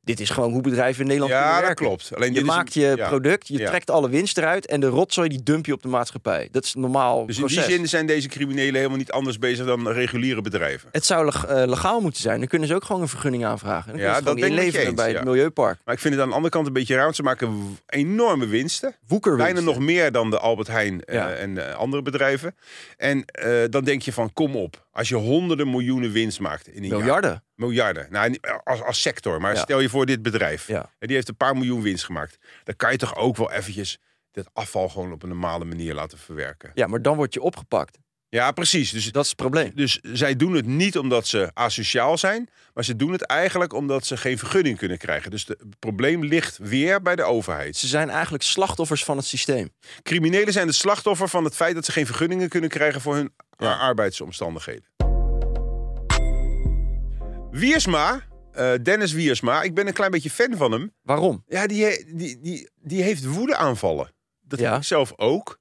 [SPEAKER 3] Dit is gewoon hoe bedrijven in Nederland kunnen
[SPEAKER 2] Ja, dat
[SPEAKER 3] werken.
[SPEAKER 2] klopt. Alleen
[SPEAKER 3] Je
[SPEAKER 2] dit is
[SPEAKER 3] maakt
[SPEAKER 2] een-
[SPEAKER 3] je
[SPEAKER 2] ja.
[SPEAKER 3] product, je
[SPEAKER 2] Ja.
[SPEAKER 3] trekt alle winst eruit... en de rotzooi die dump je op de maatschappij. Dat is een normaal
[SPEAKER 2] Dus in
[SPEAKER 3] proces.
[SPEAKER 2] die zin zijn deze criminelen helemaal niet anders bezig dan reguliere bedrijven.
[SPEAKER 3] Het zou leg- eh, legaal moeten zijn. Dan kunnen ze ook gewoon een vergunning aanvragen. Dan
[SPEAKER 2] Ja,
[SPEAKER 3] kunnen
[SPEAKER 2] dat
[SPEAKER 3] ze gewoon
[SPEAKER 2] ben ik met je
[SPEAKER 3] inleveren
[SPEAKER 2] eens,
[SPEAKER 3] bij
[SPEAKER 2] ja.
[SPEAKER 3] het milieupark.
[SPEAKER 2] Maar ik vind het aan de andere kant een beetje raar. want Ze maken w- enorme winsten.
[SPEAKER 3] Woekerwinst.
[SPEAKER 2] Bijna nog meer dan de Albert Heijn eh,
[SPEAKER 3] Ja.
[SPEAKER 2] en eh, andere bedrijven. En eh, dan denk je van, kom op. Als je honderden miljoenen winst maakt in een jaar.
[SPEAKER 3] Miljarden.
[SPEAKER 2] Miljarden. Nou, niet- als, als sector. Maar
[SPEAKER 3] Ja.
[SPEAKER 2] stel je voor dit bedrijf.
[SPEAKER 3] Ja.
[SPEAKER 2] En die heeft een paar miljoen winst gemaakt. Dan kan je toch ook wel eventjes dat afval gewoon op een normale manier laten verwerken.
[SPEAKER 3] Ja, maar dan word je opgepakt.
[SPEAKER 2] Ja, precies. Dus
[SPEAKER 3] Dat is het probleem.
[SPEAKER 2] Dus zij doen het niet omdat ze asociaal zijn, maar ze doen het eigenlijk omdat ze geen vergunning kunnen krijgen. Dus de- het probleem ligt weer bij de overheid.
[SPEAKER 3] Dus Ze zijn eigenlijk slachtoffers van het systeem.
[SPEAKER 2] Criminelen zijn het slachtoffer van het feit dat ze geen vergunningen kunnen krijgen voor hun
[SPEAKER 3] Ja.
[SPEAKER 2] a- arbeidsomstandigheden. Wiersma, eh, Dennis Wiersma, ik ben een klein beetje fan van hem.
[SPEAKER 3] Waarom?
[SPEAKER 2] Ja, die, he- die, die, die heeft woedeaanvallen. Dat
[SPEAKER 3] Ja.
[SPEAKER 2] heb ik zelf ook.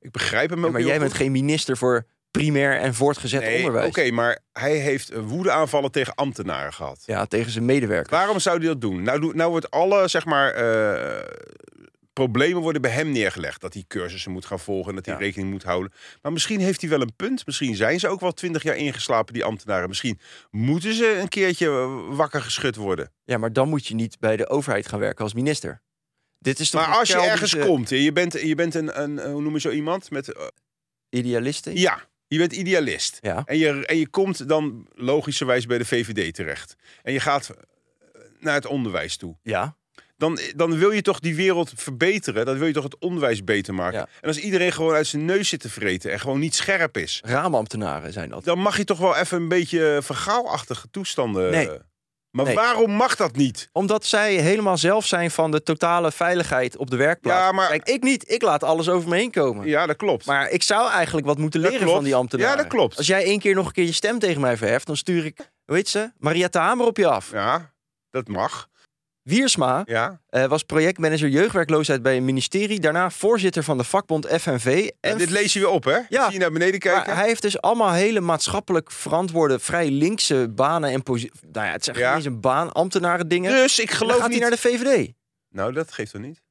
[SPEAKER 2] Ik begrijp hem ook.
[SPEAKER 3] maar
[SPEAKER 2] heel
[SPEAKER 3] jij
[SPEAKER 2] goed.
[SPEAKER 3] bent geen minister voor primair en voortgezet
[SPEAKER 2] Nee,
[SPEAKER 3] onderwijs.
[SPEAKER 2] Oké, maar hij heeft eh, woedeaanvallen tegen ambtenaren gehad.
[SPEAKER 3] Ja, tegen zijn medewerker.
[SPEAKER 2] Waarom zou hij dat doen? Nou, doe- nou wordt alle, zeg maar, eh, problemen worden bij hem neergelegd. Dat hij cursussen moet gaan volgen en dat hij
[SPEAKER 3] Ja.
[SPEAKER 2] rekening moet houden. Maar misschien heeft hij wel een punt. Misschien zijn ze ook wel twintig jaar ingeslapen, die ambtenaren. Misschien moeten ze een keertje eh, wakker geschud worden.
[SPEAKER 3] Ja, maar dan moet je niet bij de overheid gaan werken als minister. Dit is toch
[SPEAKER 2] maar
[SPEAKER 3] een
[SPEAKER 2] als je
[SPEAKER 3] Keltische
[SPEAKER 2] ergens komt, hè, je bent, je bent een, een, eh, hoe noem je zo iemand? Met, eh,
[SPEAKER 3] Idealisten?
[SPEAKER 2] ja, je bent idealist.
[SPEAKER 3] Ja.
[SPEAKER 2] En je, en je komt dan logischerwijs bij de VVD terecht. En je gaat eh, naar het onderwijs toe.
[SPEAKER 3] Ja.
[SPEAKER 2] dan, dan wil je toch die wereld verbeteren. Dan wil je toch het onderwijs beter maken.
[SPEAKER 3] Ja.
[SPEAKER 2] En als iedereen gewoon uit zijn neus zit te vreten en gewoon niet scherp is,
[SPEAKER 3] Raamambtenaren zijn dat.
[SPEAKER 2] dan mag je toch wel even een beetje eh, vergaalachtige toestanden.
[SPEAKER 3] Nee.
[SPEAKER 2] eh. Maar
[SPEAKER 3] Nee.
[SPEAKER 2] waarom mag dat niet?
[SPEAKER 3] Omdat zij helemaal zelf zijn van de totale veiligheid op de werkplaats.
[SPEAKER 2] Ja, maar-
[SPEAKER 3] Kijk, ik niet. Ik laat alles over me heen komen.
[SPEAKER 2] Ja, dat klopt.
[SPEAKER 3] Maar ik zou eigenlijk wat moeten
[SPEAKER 2] Dat
[SPEAKER 3] leren
[SPEAKER 2] klopt.
[SPEAKER 3] van die ambtenaren.
[SPEAKER 2] Ja, dat klopt.
[SPEAKER 3] Als jij één keer nog een keer je stem tegen mij verheft, dan stuur ik, hoe heet ze, Maria de Hamer op je af.
[SPEAKER 2] Ja, dat mag.
[SPEAKER 3] Wiersma
[SPEAKER 2] Ja.
[SPEAKER 3] eh, was projectmanager jeugdwerkloosheid bij een ministerie. Daarna voorzitter van de vakbond FNV. En
[SPEAKER 2] dit lees je weer op, hè?
[SPEAKER 3] Ja.
[SPEAKER 2] Zie je naar beneden kijken?
[SPEAKER 3] Maar hij heeft dus allemaal hele maatschappelijk verantwoorde, vrij linkse banen en posities. Nou ja, het zijn
[SPEAKER 2] Ja.
[SPEAKER 3] geen eens een baan, ambtenaren dingen.
[SPEAKER 2] Dus ik
[SPEAKER 3] En dan
[SPEAKER 2] geloof
[SPEAKER 3] gaat
[SPEAKER 2] niet.
[SPEAKER 3] hij naar de VVD.
[SPEAKER 2] Nou, dat geeft toch niet?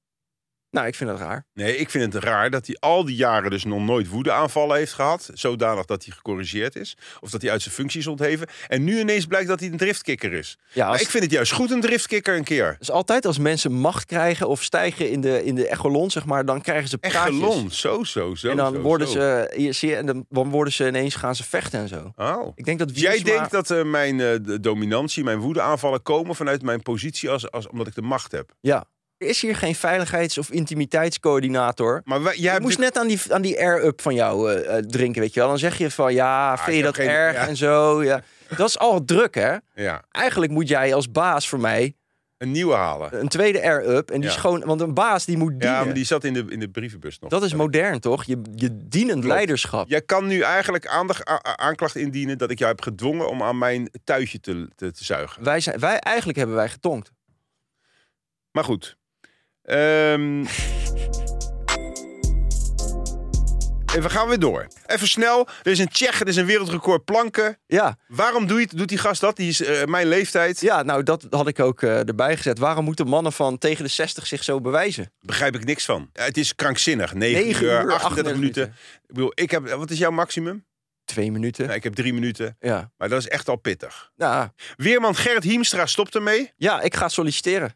[SPEAKER 3] Nou, ik vind dat raar.
[SPEAKER 2] Nee, ik vind het raar dat hij al die jaren dus nog nooit woedeaanvallen heeft gehad. Zodanig dat hij gecorrigeerd is. Of dat hij uit zijn functie is ontheven. En nu ineens blijkt dat hij een driftkikker is.
[SPEAKER 3] Ja, als,
[SPEAKER 2] Maar ik vind het juist goed een driftkikker een keer.
[SPEAKER 3] dus altijd als mensen macht krijgen of stijgen in de, in de echelon, zeg maar, dan krijgen ze
[SPEAKER 2] Echt
[SPEAKER 3] praatjes.
[SPEAKER 2] gelon. Zo, zo, zo.
[SPEAKER 3] En dan
[SPEAKER 2] zo,
[SPEAKER 3] worden
[SPEAKER 2] zo.
[SPEAKER 3] ze, hier zie je, en dan- dan worden ze ineens gaan ze vechten en zo.
[SPEAKER 2] Oh.
[SPEAKER 3] Ik denk dat
[SPEAKER 2] Jij
[SPEAKER 3] Wiersma-
[SPEAKER 2] denkt dat eh, mijn eh, de dominantie, mijn woedeaanvallen komen vanuit mijn positie als, als omdat ik de macht heb.
[SPEAKER 3] ja. Er is hier geen veiligheids- of intimiteitscoördinator.
[SPEAKER 2] Maar wij, jij
[SPEAKER 3] ik
[SPEAKER 2] hebt
[SPEAKER 3] moest
[SPEAKER 2] natuurlijk-
[SPEAKER 3] net aan die, aan die air-up van jou eh, eh, drinken, weet je wel. Dan zeg je van, ja,
[SPEAKER 2] Ah, ik
[SPEAKER 3] vind je
[SPEAKER 2] heb
[SPEAKER 3] dat
[SPEAKER 2] geen-
[SPEAKER 3] erg
[SPEAKER 2] ja.
[SPEAKER 3] en zo. Ja. Dat is al druk, hè?
[SPEAKER 2] ja,
[SPEAKER 3] Eigenlijk moet jij als baas voor mij
[SPEAKER 2] een nieuwe halen.
[SPEAKER 3] een tweede air-up. En die
[SPEAKER 2] Ja.
[SPEAKER 3] is gewoon, want een baas Eh, die eh. moet dienen.
[SPEAKER 2] Ja, maar die zat in de, in de brievenbus nog.
[SPEAKER 3] Dat is modern, toch? Je, je dienend leiderschap.
[SPEAKER 2] Jij kan nu eigenlijk aandacht, a- a- aanklacht indienen dat ik jou heb gedwongen om aan mijn tuitje te, te, te zuigen.
[SPEAKER 3] Wij zijn, wij, eigenlijk hebben wij getonkt.
[SPEAKER 2] Maar goed. Ehm, En we gaan weer door. Even snel. Er is een Tsjech, er is een wereldrecord planken.
[SPEAKER 3] Ja,
[SPEAKER 2] Waarom doe je, doet die gast dat? Die is eh, mijn leeftijd.
[SPEAKER 3] ja, nou dat had ik ook eh, erbij gezet. Waarom moeten mannen van tegen de 60 zich zo bewijzen?
[SPEAKER 2] Begrijp ik niks van. Ja, het is krankzinnig. 9,
[SPEAKER 3] Negen
[SPEAKER 2] uur,
[SPEAKER 3] uur,
[SPEAKER 2] 38,
[SPEAKER 3] 38
[SPEAKER 2] minuten. Ik bedoel, ik heb, wat is jouw maximum?
[SPEAKER 3] Twee minuten.
[SPEAKER 2] Nou, ik heb drie minuten.
[SPEAKER 3] Ja.
[SPEAKER 2] Maar dat is echt al pittig.
[SPEAKER 3] Nou,
[SPEAKER 2] Weerman Gerrit Hiemstra stopt ermee.
[SPEAKER 3] ja, ik ga solliciteren.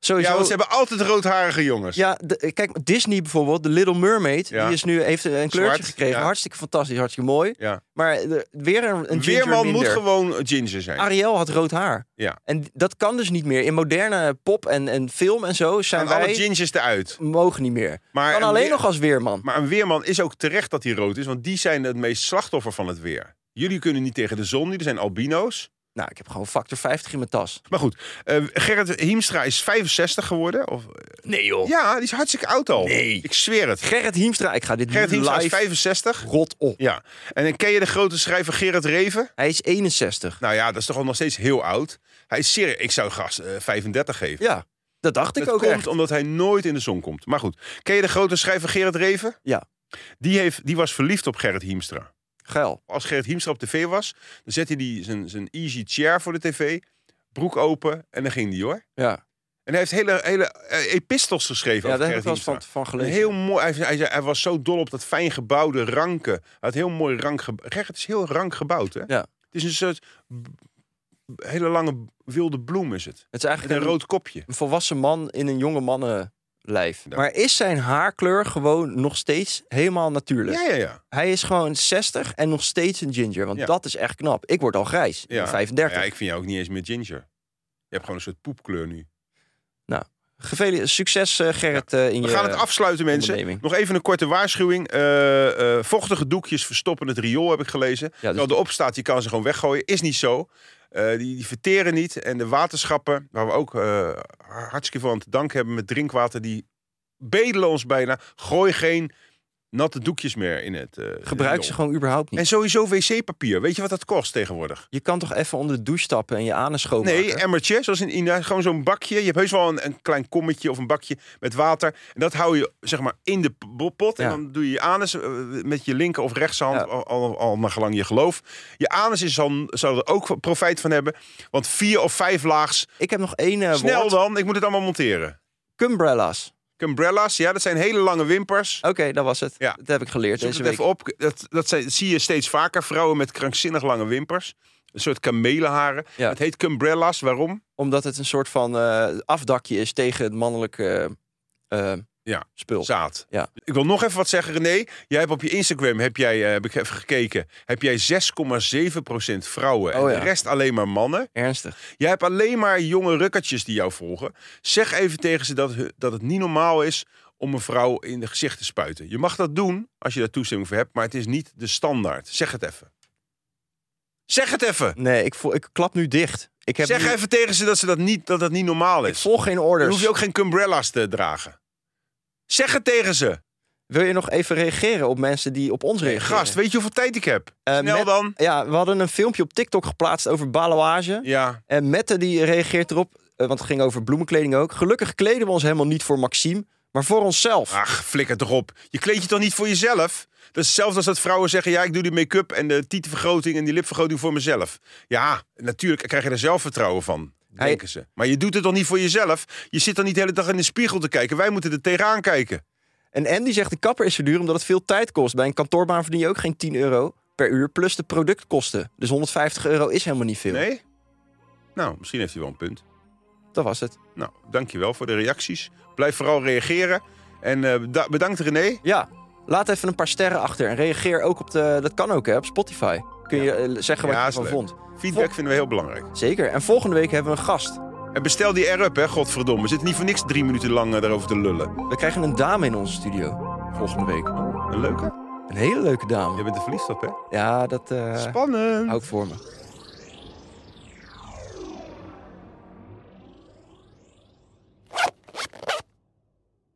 [SPEAKER 3] Sowieso.
[SPEAKER 2] Ja, want ze hebben altijd roodharige jongens.
[SPEAKER 3] Ja, de- kijk, Disney bijvoorbeeld, The Little Mermaid,
[SPEAKER 2] Ja.
[SPEAKER 3] die is nu, heeft een kleurtje gekregen.
[SPEAKER 2] ja.
[SPEAKER 3] Hartstikke fantastisch, hartstikke mooi.
[SPEAKER 2] Ja.
[SPEAKER 3] Maar er- weer een, een ginger
[SPEAKER 2] Weerman
[SPEAKER 3] minder.
[SPEAKER 2] moet gewoon ginger zijn.
[SPEAKER 3] Ariel had rood haar.
[SPEAKER 2] Ja.
[SPEAKER 3] En dat kan dus niet meer. In moderne pop en, en film en zo zijn
[SPEAKER 2] en alle
[SPEAKER 3] wij...
[SPEAKER 2] gingers eruit.
[SPEAKER 3] mogen niet meer.
[SPEAKER 2] Maar
[SPEAKER 3] kan
[SPEAKER 2] een
[SPEAKER 3] alleen
[SPEAKER 2] weer-
[SPEAKER 3] nog als weerman.
[SPEAKER 2] Maar een weerman is ook terecht dat hij rood is, want die zijn het meest slachtoffer van het weer. Jullie kunnen niet tegen de zon, jullie zijn albino's.
[SPEAKER 3] Nou, ik heb gewoon factor 50 in mijn tas.
[SPEAKER 2] Maar goed, eh, Gerrit Hiemstra is 65 geworden. Of,
[SPEAKER 3] Nee joh.
[SPEAKER 2] ja, die is hartstikke oud al.
[SPEAKER 3] Oh. Nee.
[SPEAKER 2] Ik zweer het.
[SPEAKER 3] Gerrit Hiemstra, ik ga dit
[SPEAKER 2] Gerrit
[SPEAKER 3] nu
[SPEAKER 2] Hiemstra is
[SPEAKER 3] live
[SPEAKER 2] 65.
[SPEAKER 3] rot op.
[SPEAKER 2] Ja. En dan ken je de grote schrijver Gerrit Reven?
[SPEAKER 3] Hij is 61.
[SPEAKER 2] Nou ja, dat is toch al nog steeds heel oud. Hij is serieus. Ik zou gast 35 geven.
[SPEAKER 3] Ja, dat dacht ik
[SPEAKER 2] dat
[SPEAKER 3] ook
[SPEAKER 2] komt
[SPEAKER 3] echt.
[SPEAKER 2] omdat hij nooit in de zon komt. Maar goed, ken je de grote schrijver Gerrit Reven?
[SPEAKER 3] Ja.
[SPEAKER 2] Die, heeft, die was verliefd op Gerrit Hiemstra.
[SPEAKER 3] Geil.
[SPEAKER 2] als Gerrit Hiemstra op tv was, dan zette hij zijn, zijn easy chair voor de tv, broek open en dan ging die hoor.
[SPEAKER 3] Ja,
[SPEAKER 2] En hij heeft hele, hele eh, epistels geschreven
[SPEAKER 3] ja
[SPEAKER 2] over
[SPEAKER 3] daar heb ik
[SPEAKER 2] Gerrit
[SPEAKER 3] wel eens
[SPEAKER 2] Hiemstra.
[SPEAKER 3] van, van
[SPEAKER 2] Een
[SPEAKER 3] gelezen.
[SPEAKER 2] Heel mooi, hij, hij, hij was zo dol op dat fijn gebouwde ranken. Hij had heel mooi rank gebouwd. Gerrit is heel rank gebouwd hè.
[SPEAKER 3] Ja.
[SPEAKER 2] Het is een soort b- b- hele lange wilde bloem is het.
[SPEAKER 3] Het is
[SPEAKER 2] Met
[SPEAKER 3] eigenlijk
[SPEAKER 2] een rood kopje.
[SPEAKER 3] een volwassen man in een jonge mannenlijf.
[SPEAKER 2] Ja.
[SPEAKER 3] Maar is zijn haarkleur gewoon nog steeds helemaal natuurlijk?
[SPEAKER 2] Ja, ja, ja.
[SPEAKER 3] Hij is gewoon 60 en nog steeds een ginger. Want
[SPEAKER 2] Ja.
[SPEAKER 3] dat is echt knap. Ik word al grijs. Ik ben
[SPEAKER 2] ja.
[SPEAKER 3] 35.
[SPEAKER 2] Ja, ik vind jou ook niet eens meer ginger. Je hebt gewoon een soort poepkleur nu.
[SPEAKER 3] Gevele- succes eh, Gerrit eh, in
[SPEAKER 2] We
[SPEAKER 3] je...
[SPEAKER 2] gaan het afsluiten, mensen.
[SPEAKER 3] onderneming.
[SPEAKER 2] Nog even een korte waarschuwing. Eh, eh, vochtige doekjes verstoppen het riool, heb ik gelezen.
[SPEAKER 3] Ja, dus-
[SPEAKER 2] Terwijl erop staat, je kan ze gewoon weggooien. Is niet zo. Eh, die, die verteren niet. En de waterschappen, waar we ook eh, hartstikke veel aan te danken hebben met drinkwater, die bedelen ons bijna. Gooi geen natte doekjes meer in het eh,
[SPEAKER 3] Gebruik
[SPEAKER 2] riool.
[SPEAKER 3] ze gewoon überhaupt niet.
[SPEAKER 2] En sowieso wc-papier. Weet je wat dat kost tegenwoordig?
[SPEAKER 3] Je kan toch even onder de douche stappen en je anus schoonmaken?
[SPEAKER 2] Nee, emmertje, zoals in Ina. Gewoon zo'n bakje. Je hebt heus wel een, een klein kommetje of een bakje met water. En dat hou je zeg maar in de p- pot. En
[SPEAKER 3] Ja.
[SPEAKER 2] dan doe je je anus eh, met je linker of rechtshand.
[SPEAKER 3] Ja.
[SPEAKER 2] Al, al, al naar gelang je geloof. Je anus is zal, zou er ook profijt van hebben. Want vier of vijf laags.
[SPEAKER 3] Ik heb nog één eh,
[SPEAKER 2] Snel
[SPEAKER 3] woord.
[SPEAKER 2] dan, ik moet het allemaal monteren.
[SPEAKER 3] Cumbrellas.
[SPEAKER 2] Umbrellas, ja, dat zijn hele lange wimpers.
[SPEAKER 3] Oké, dat was het.
[SPEAKER 2] Ja.
[SPEAKER 3] Dat heb ik geleerd
[SPEAKER 2] Zoek
[SPEAKER 3] deze
[SPEAKER 2] het
[SPEAKER 3] week.
[SPEAKER 2] even op. Dat, dat, zijn, zie je steeds vaker. Vrouwen met krankzinnig lange wimpers. Een soort kamelenharen.
[SPEAKER 3] Ja.
[SPEAKER 2] Het heet umbrellas. Waarom?
[SPEAKER 3] Omdat het een soort van eh, afdakje is tegen het mannelijke eh, eh,
[SPEAKER 2] Ja.
[SPEAKER 3] spul.
[SPEAKER 2] Zaad.
[SPEAKER 3] Ja.
[SPEAKER 2] Ik wil nog even wat zeggen, René. Jij hebt op je Instagram, heb, jij, eh, heb ik even gekeken, heb jij 6,7% vrouwen en
[SPEAKER 3] Oh
[SPEAKER 2] de
[SPEAKER 3] ja.
[SPEAKER 2] rest alleen maar mannen.
[SPEAKER 3] Ernstig.
[SPEAKER 2] Jij hebt alleen maar jonge rukkertjes die jou volgen. Zeg even tegen ze dat, hu- dat het niet normaal is om een vrouw in het gezicht te spuiten. Je mag dat doen als je daar toestemming voor hebt, maar het is niet de standaard. Zeg het even. Zeg het even.
[SPEAKER 3] Nee, ik, voel, ik klap nu dicht. Ik heb
[SPEAKER 2] Zeg
[SPEAKER 3] nu-
[SPEAKER 2] even tegen ze dat ze dat niet, dat dat niet normaal
[SPEAKER 3] Ik dus-
[SPEAKER 2] is.
[SPEAKER 3] volg geen
[SPEAKER 2] Dan
[SPEAKER 3] orders.
[SPEAKER 2] hoef je ook geen umbrellas te dragen. Zeg het tegen ze.
[SPEAKER 3] Wil je nog even reageren op mensen die op ons reageren?
[SPEAKER 2] Gast, weet je hoeveel tijd ik heb?
[SPEAKER 3] Eh,
[SPEAKER 2] Snel
[SPEAKER 3] met-
[SPEAKER 2] dan.
[SPEAKER 3] Ja, we hadden een filmpje op TikTok geplaatst over balawage.
[SPEAKER 2] Ja,
[SPEAKER 3] En Mette die reageert erop, eh, want het ging over bloemenkleding ook. Gelukkig kleden we ons helemaal niet voor Maxime, maar voor onszelf.
[SPEAKER 2] ach, flikker toch op. Je kleed je toch niet voor jezelf? Dat is hetzelfde als dat vrouwen zeggen... ja, ik doe die make-up en de tietenvergroting en die lipvergroting voor mezelf. Ja, natuurlijk krijg je er zelfvertrouwen van, denken ze. Maar je doet het toch niet voor jezelf? Je zit dan niet de hele dag in de spiegel te kijken. Wij moeten er tegenaan kijken.
[SPEAKER 3] En Andy zegt de kapper is verduur omdat het veel tijd kost. Bij een kantoorbaan verdien je ook geen 10 euro per uur, plus de productkosten. Dus 150 euro is helemaal niet veel.
[SPEAKER 2] Nee? Nou, misschien heeft hij wel een punt.
[SPEAKER 3] Dat was het.
[SPEAKER 2] Nou, dankjewel voor de reacties. Blijf vooral reageren. En eh, beda- bedankt René.
[SPEAKER 3] Ja, laat even een paar sterren achter en reageer ook op de... Dat kan ook hè, op Spotify. Kun je eh, zeggen wat
[SPEAKER 2] Ja,
[SPEAKER 3] je
[SPEAKER 2] is
[SPEAKER 3] ervan
[SPEAKER 2] leuk.
[SPEAKER 3] vond.
[SPEAKER 2] Feedback vinden we heel belangrijk.
[SPEAKER 3] Zeker. En volgende week hebben we een gast.
[SPEAKER 2] En bestel die air-up, hè, godverdomme. We zitten niet voor niks drie minuten lang eh, daarover te lullen.
[SPEAKER 3] We krijgen een dame in onze studio volgende week.
[SPEAKER 2] Een leuke.
[SPEAKER 3] Een hele leuke dame.
[SPEAKER 2] Je bent een verliefd op, hè?
[SPEAKER 3] Ja, dat eh
[SPEAKER 2] Spannend.
[SPEAKER 3] hou ik voor me.